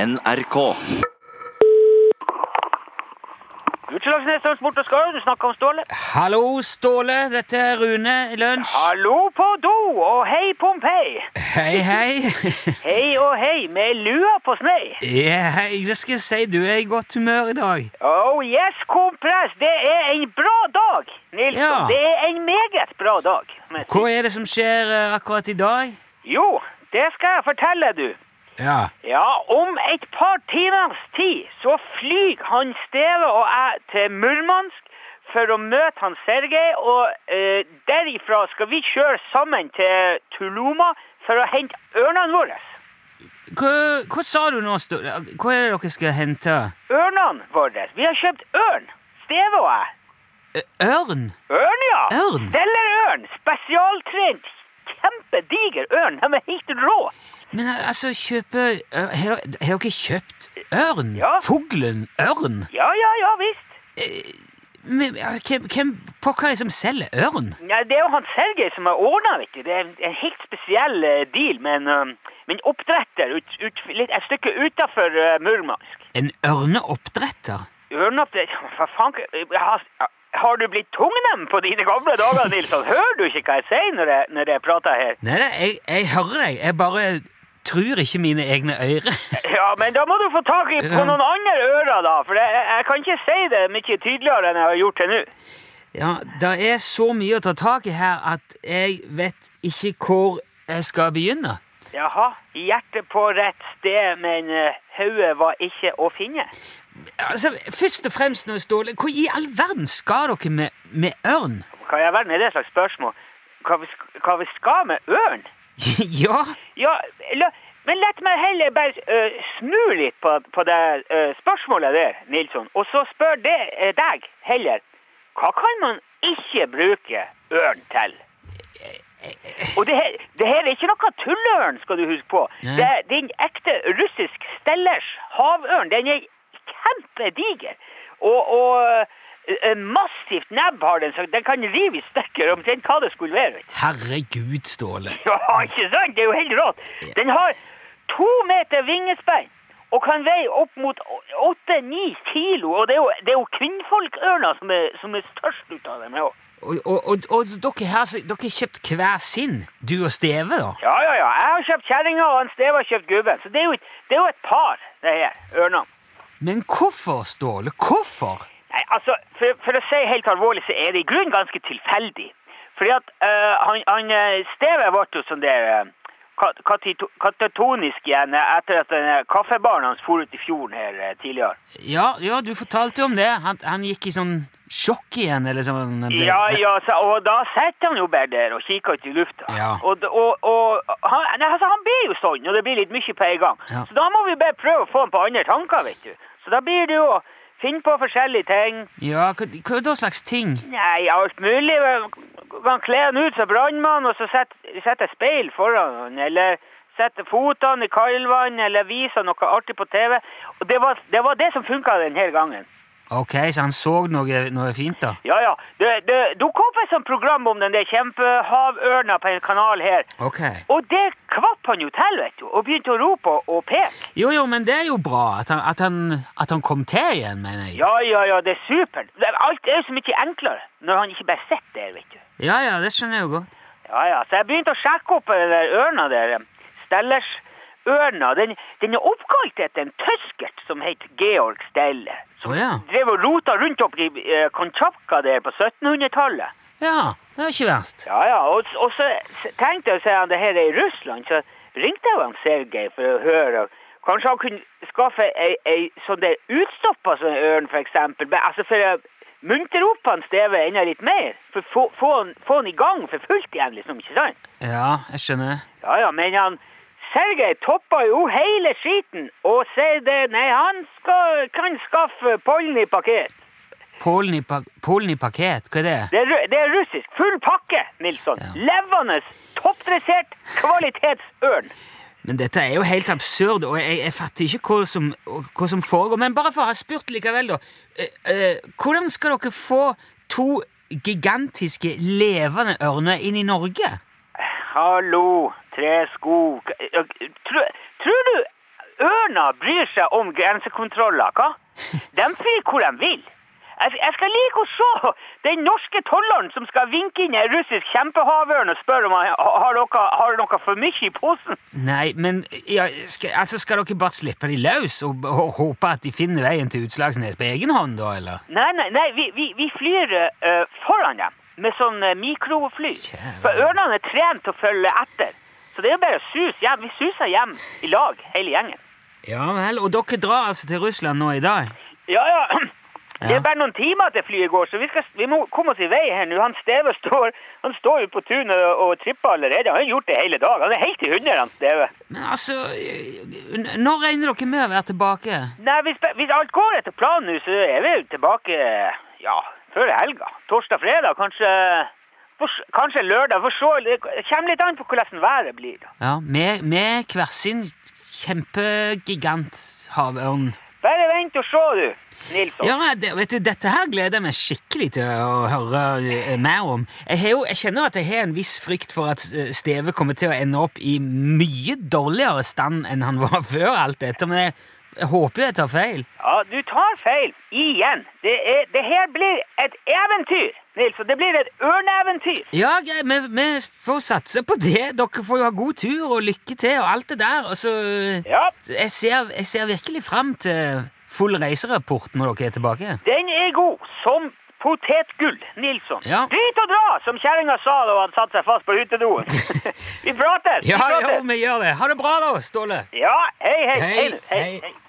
NRK. Utslagsnes Transport og Skarv, du snakker om Ståle. Hallo, Ståle. Dette er Rune i lunsj. Hallo på do, og hei Pompeii. Hei, hei. Hei og hei, med lua på snei. Ja, hei. Jeg skal si du er i godt humør i dag. Oh yes, kompress, det er en bra dag, Nilsson. Ja. Det er en meget bra dag. Men, Hva er det som skjer eh, akkurat i dag? jo, det skal jeg fortelle, du. Ja. Ja, om et par timers tid så flyr han Steve og jeg til Murmansk for å møte han Sergej, og eh, derifra skal vi kjøre sammen til Tuluma for å hente ørnene våre. Hva, hva sa du nå, Ståle? Hva er det dere skal hente? Ørnene våre. Vi har kjøpt ørn, Steve og jeg. Eh, Ørn? Ørn, ja. Ørn? Stellerørn. Spesialtrent. Kjempediger ørn. De er helt rå. Men eh, altså, kjøpe ør- Har dere- har dere kjøpt ørn? Ja. Fuglen ørn? Ja, ja, ja visst. Men, eh, Hvem, hvem pokker er det som selger ørn? Nei, det er jo han Sergej som har ordna, vet du. Det er en, en helt spesiell eh, deal med en, um, med en oppdretter ut, ut, litt, et stykke utafor Murmansk. En ørneoppdretter? Ørneoppdretter Hva faen eh, har, har du blitt tungnem på dine gamle dager, Nilsson? Hører du ikke hva jeg sier når jeg, når jeg prater her? Nei, nei, jeg, jeg hører deg. Jeg bare tror ikke mine egne ører. Ja, men da må du få tak i på Ja. noen andre ører, da. For jeg, jeg kan ikke si det mye tydeligere enn jeg har gjort til nå. Ja, det er så mye å ta tak i her at jeg vet ikke hvor jeg skal begynne. Jaha. Hjertet på rett sted, men eh, hodet var ikke å finne. Altså, Først og fremst, nå, Ståle, hvor i all verden skal dere med, med ørn? Hva i all verden er det slags spørsmål? Hva vi, sk- hva vi skal med ørn? ja, Ja, la, men lett meg heller bare øh, snu litt på, på det øh, spørsmålet der, Nilsson. Og så spør det, eh, deg heller, hva kan man ikke bruke ørn til? Og det her, det her er ikke noe tulleørn, skal du huske på. Nei. Det er din ekte russisk stellers havørn. Den er kjempediger. Og, og eh, massivt nebb har den, så den kan rive i stykker omtrent hva det skulle være. herregud, Ståle. Ja, ikke sant? Det er jo helt rått. Den har to meter vingespenn og kan veie opp mot å- åtte-ni kilo. Og det er jo, det er jo kvinnfolkørna som er, som er størst ut av dem. her også. Og, og, og, og dere her, så- dere har kjøpt hver sin, du og Steve, da? Ja, ja, ja. Jeg har kjøpt kjerringa, og han Steve har kjøpt gubben. Så det er jo, et- det er jo et par, det her, ørna. Men hvorfor, Ståle? Hvorfor? Nei, altså, for, for å si helt alvorlig, så er det i grunnen ganske tilfeldig. Fordi at øh, han, han øh, Steve ble jo sånn der øh, kat- katito- katatonisk igjen øh, etter at denne kaffebaren hans for ut i fjorden her øh, tidligere. Ja, ja, du fortalte jo om det. Han, han gikk i sånn sjokk igjen, eller sånn. Ja, ja, så, og da sitter han jo bare der og kikker ut i lufta. Ja. Og, d- og, og han, nei, altså, han blir jo sånn, og det blir litt mye på en gang. Ja. Så da må vi bare prøve å få han på andre tanker, vet du. Så da blir det jo å finne på forskjellige ting. Ja, hva, hva da slags ting? Nei, alt mulig. Man kler han ut som brannmann, og så setter setter jeg speil foran han, eller setter fotene i kaldvann, eller viser noe artig på TV. Og det var det, var det som funka denne gangen. Ok, så han så noe, noe fint da? Ja, ja. Det, det dukket opp et sånt program om den der kjempehavørna på en kanal her. Ok. Og det kvapp han jo til, vet du, og begynte å rope og, og peke. Jo, jo, men det er jo bra at han, at han, at han kom til igjen, mener jeg. Ja, ja, ja, det er supert. Det- Alt er jo så mye enklere når han ikke bare sitter der, vet du. Ja, ja, det skjønner jeg jo godt. Ja, ja, så jeg begynte å sjekke opp eh, den der ørna der. eh, Stellersørna. Den, den er oppkalt etter en tyskert som het Georg Steller. Som Å, ja. drev og rota rundt opp i eh, Kamtsjatka der på 1700-tallet. Ja, det er ikke verst. Ja, ja, og, og så tenkte jeg, siden det her er i Russland, så ringte jeg han Sergej for å høre. Kanskje han kunne skaffe ei, ei sånn der utstoppa sånn ørn, for eksempel. Men, altså for å muntre opp han Steve enda litt mer. For å få, få, han- få han i gang for fullt igjen, liksom. Ikke sant? Ja, jeg skjønner. Ja, ja, men han Sergej toppa jo hele skiten og sier det Nei, han skal, kan skaffe pollen i pakket. Polen i, pa Polen i pakket, hva er det? Det er, ru- det er russisk. Full pakke, Nilsson. Ja. Levende, toppdressert kvalitetsørn. Men dette er jo helt absurd, og jeg, jeg fatter ikke hva som, hva som foregår. Men bare for å ha spurt likevel da, eh, eh, hvordan skal dere få to gigantiske levende ørner inn i Norge? Hallo, tresko K- ø- tr- Tror du ørna bryr seg om grensekontroller, hva? De flyr hvor de vil. Jeg, jeg skal like å se den norske tolleren som skal vinke inn en russisk kjempehavørn og spørre om han har noe, har noe for mye i posen. Nei, men ja, skal, altså, skal dere bare slippe de løs og, og håpe at de finner veien til Utslagsnes på egen hånd, da, eller? Nei, nei, nei vi, vi, vi flyr eh, foran dem med sånn eh, mikrofly. Kjære. For ørnene er trent til å følge etter. Så det er jo bare å suse hjem. Vi suser hjem i lag, hele gjengen. Ja vel, og dere drar altså til Russland nå i dag? Ja, ja. Det Ja. er bare noen timer til flyet går, så vi, skal, vi må komme oss i vei her nå. Han Steve står, han står jo på tunet og, og tripper allerede. Han har gjort det hele dag. Han er helt i hundre, han Steve. Men altså, eh, n- når regner dere med å være tilbake? Nei, hvis, hvis alt går etter planen nå, så er vi jo tilbake ja, før helga. Torsdag-fredag, kanskje, for, s- kanskje lørdag. For så, det kommer litt an på hvordan været blir. da. Ja, med, med hver sin kjempegigant havørn. Bare vent og se, du, Nilsson. Ja, det, vet du, dette her gleder jeg meg skikkelig til å høre eh, mer om. Jeg, har jo, jeg kjenner at jeg har en viss frykt for at eh, Steve kommer til å ende opp i mye dårligere stand enn han var før alt dette, men jeg, jeg håper jo jeg tar feil. Ja, du tar feil. Igjen. Det, er, det her blir et eventyr, Nilsson. Det blir et ørneeventyr. Ja, greit, vi, vi får satse på det. Dere får jo ha god tur og lykke til og alt det der. Og så Ja, jeg, ser, jeg ser virkelig fram til full reiserapport når dere er tilbake. den er god som potetgull, Nilsson. Ja. Drit og dra, som kjerringa sa da han satte seg fast på utedoen. vi prates! Ja, vi jo, prates. vi gjør det. Ha det bra, da, Ståle. Ja, hei, hei. Hei, hei, nå, hei, hei. hei.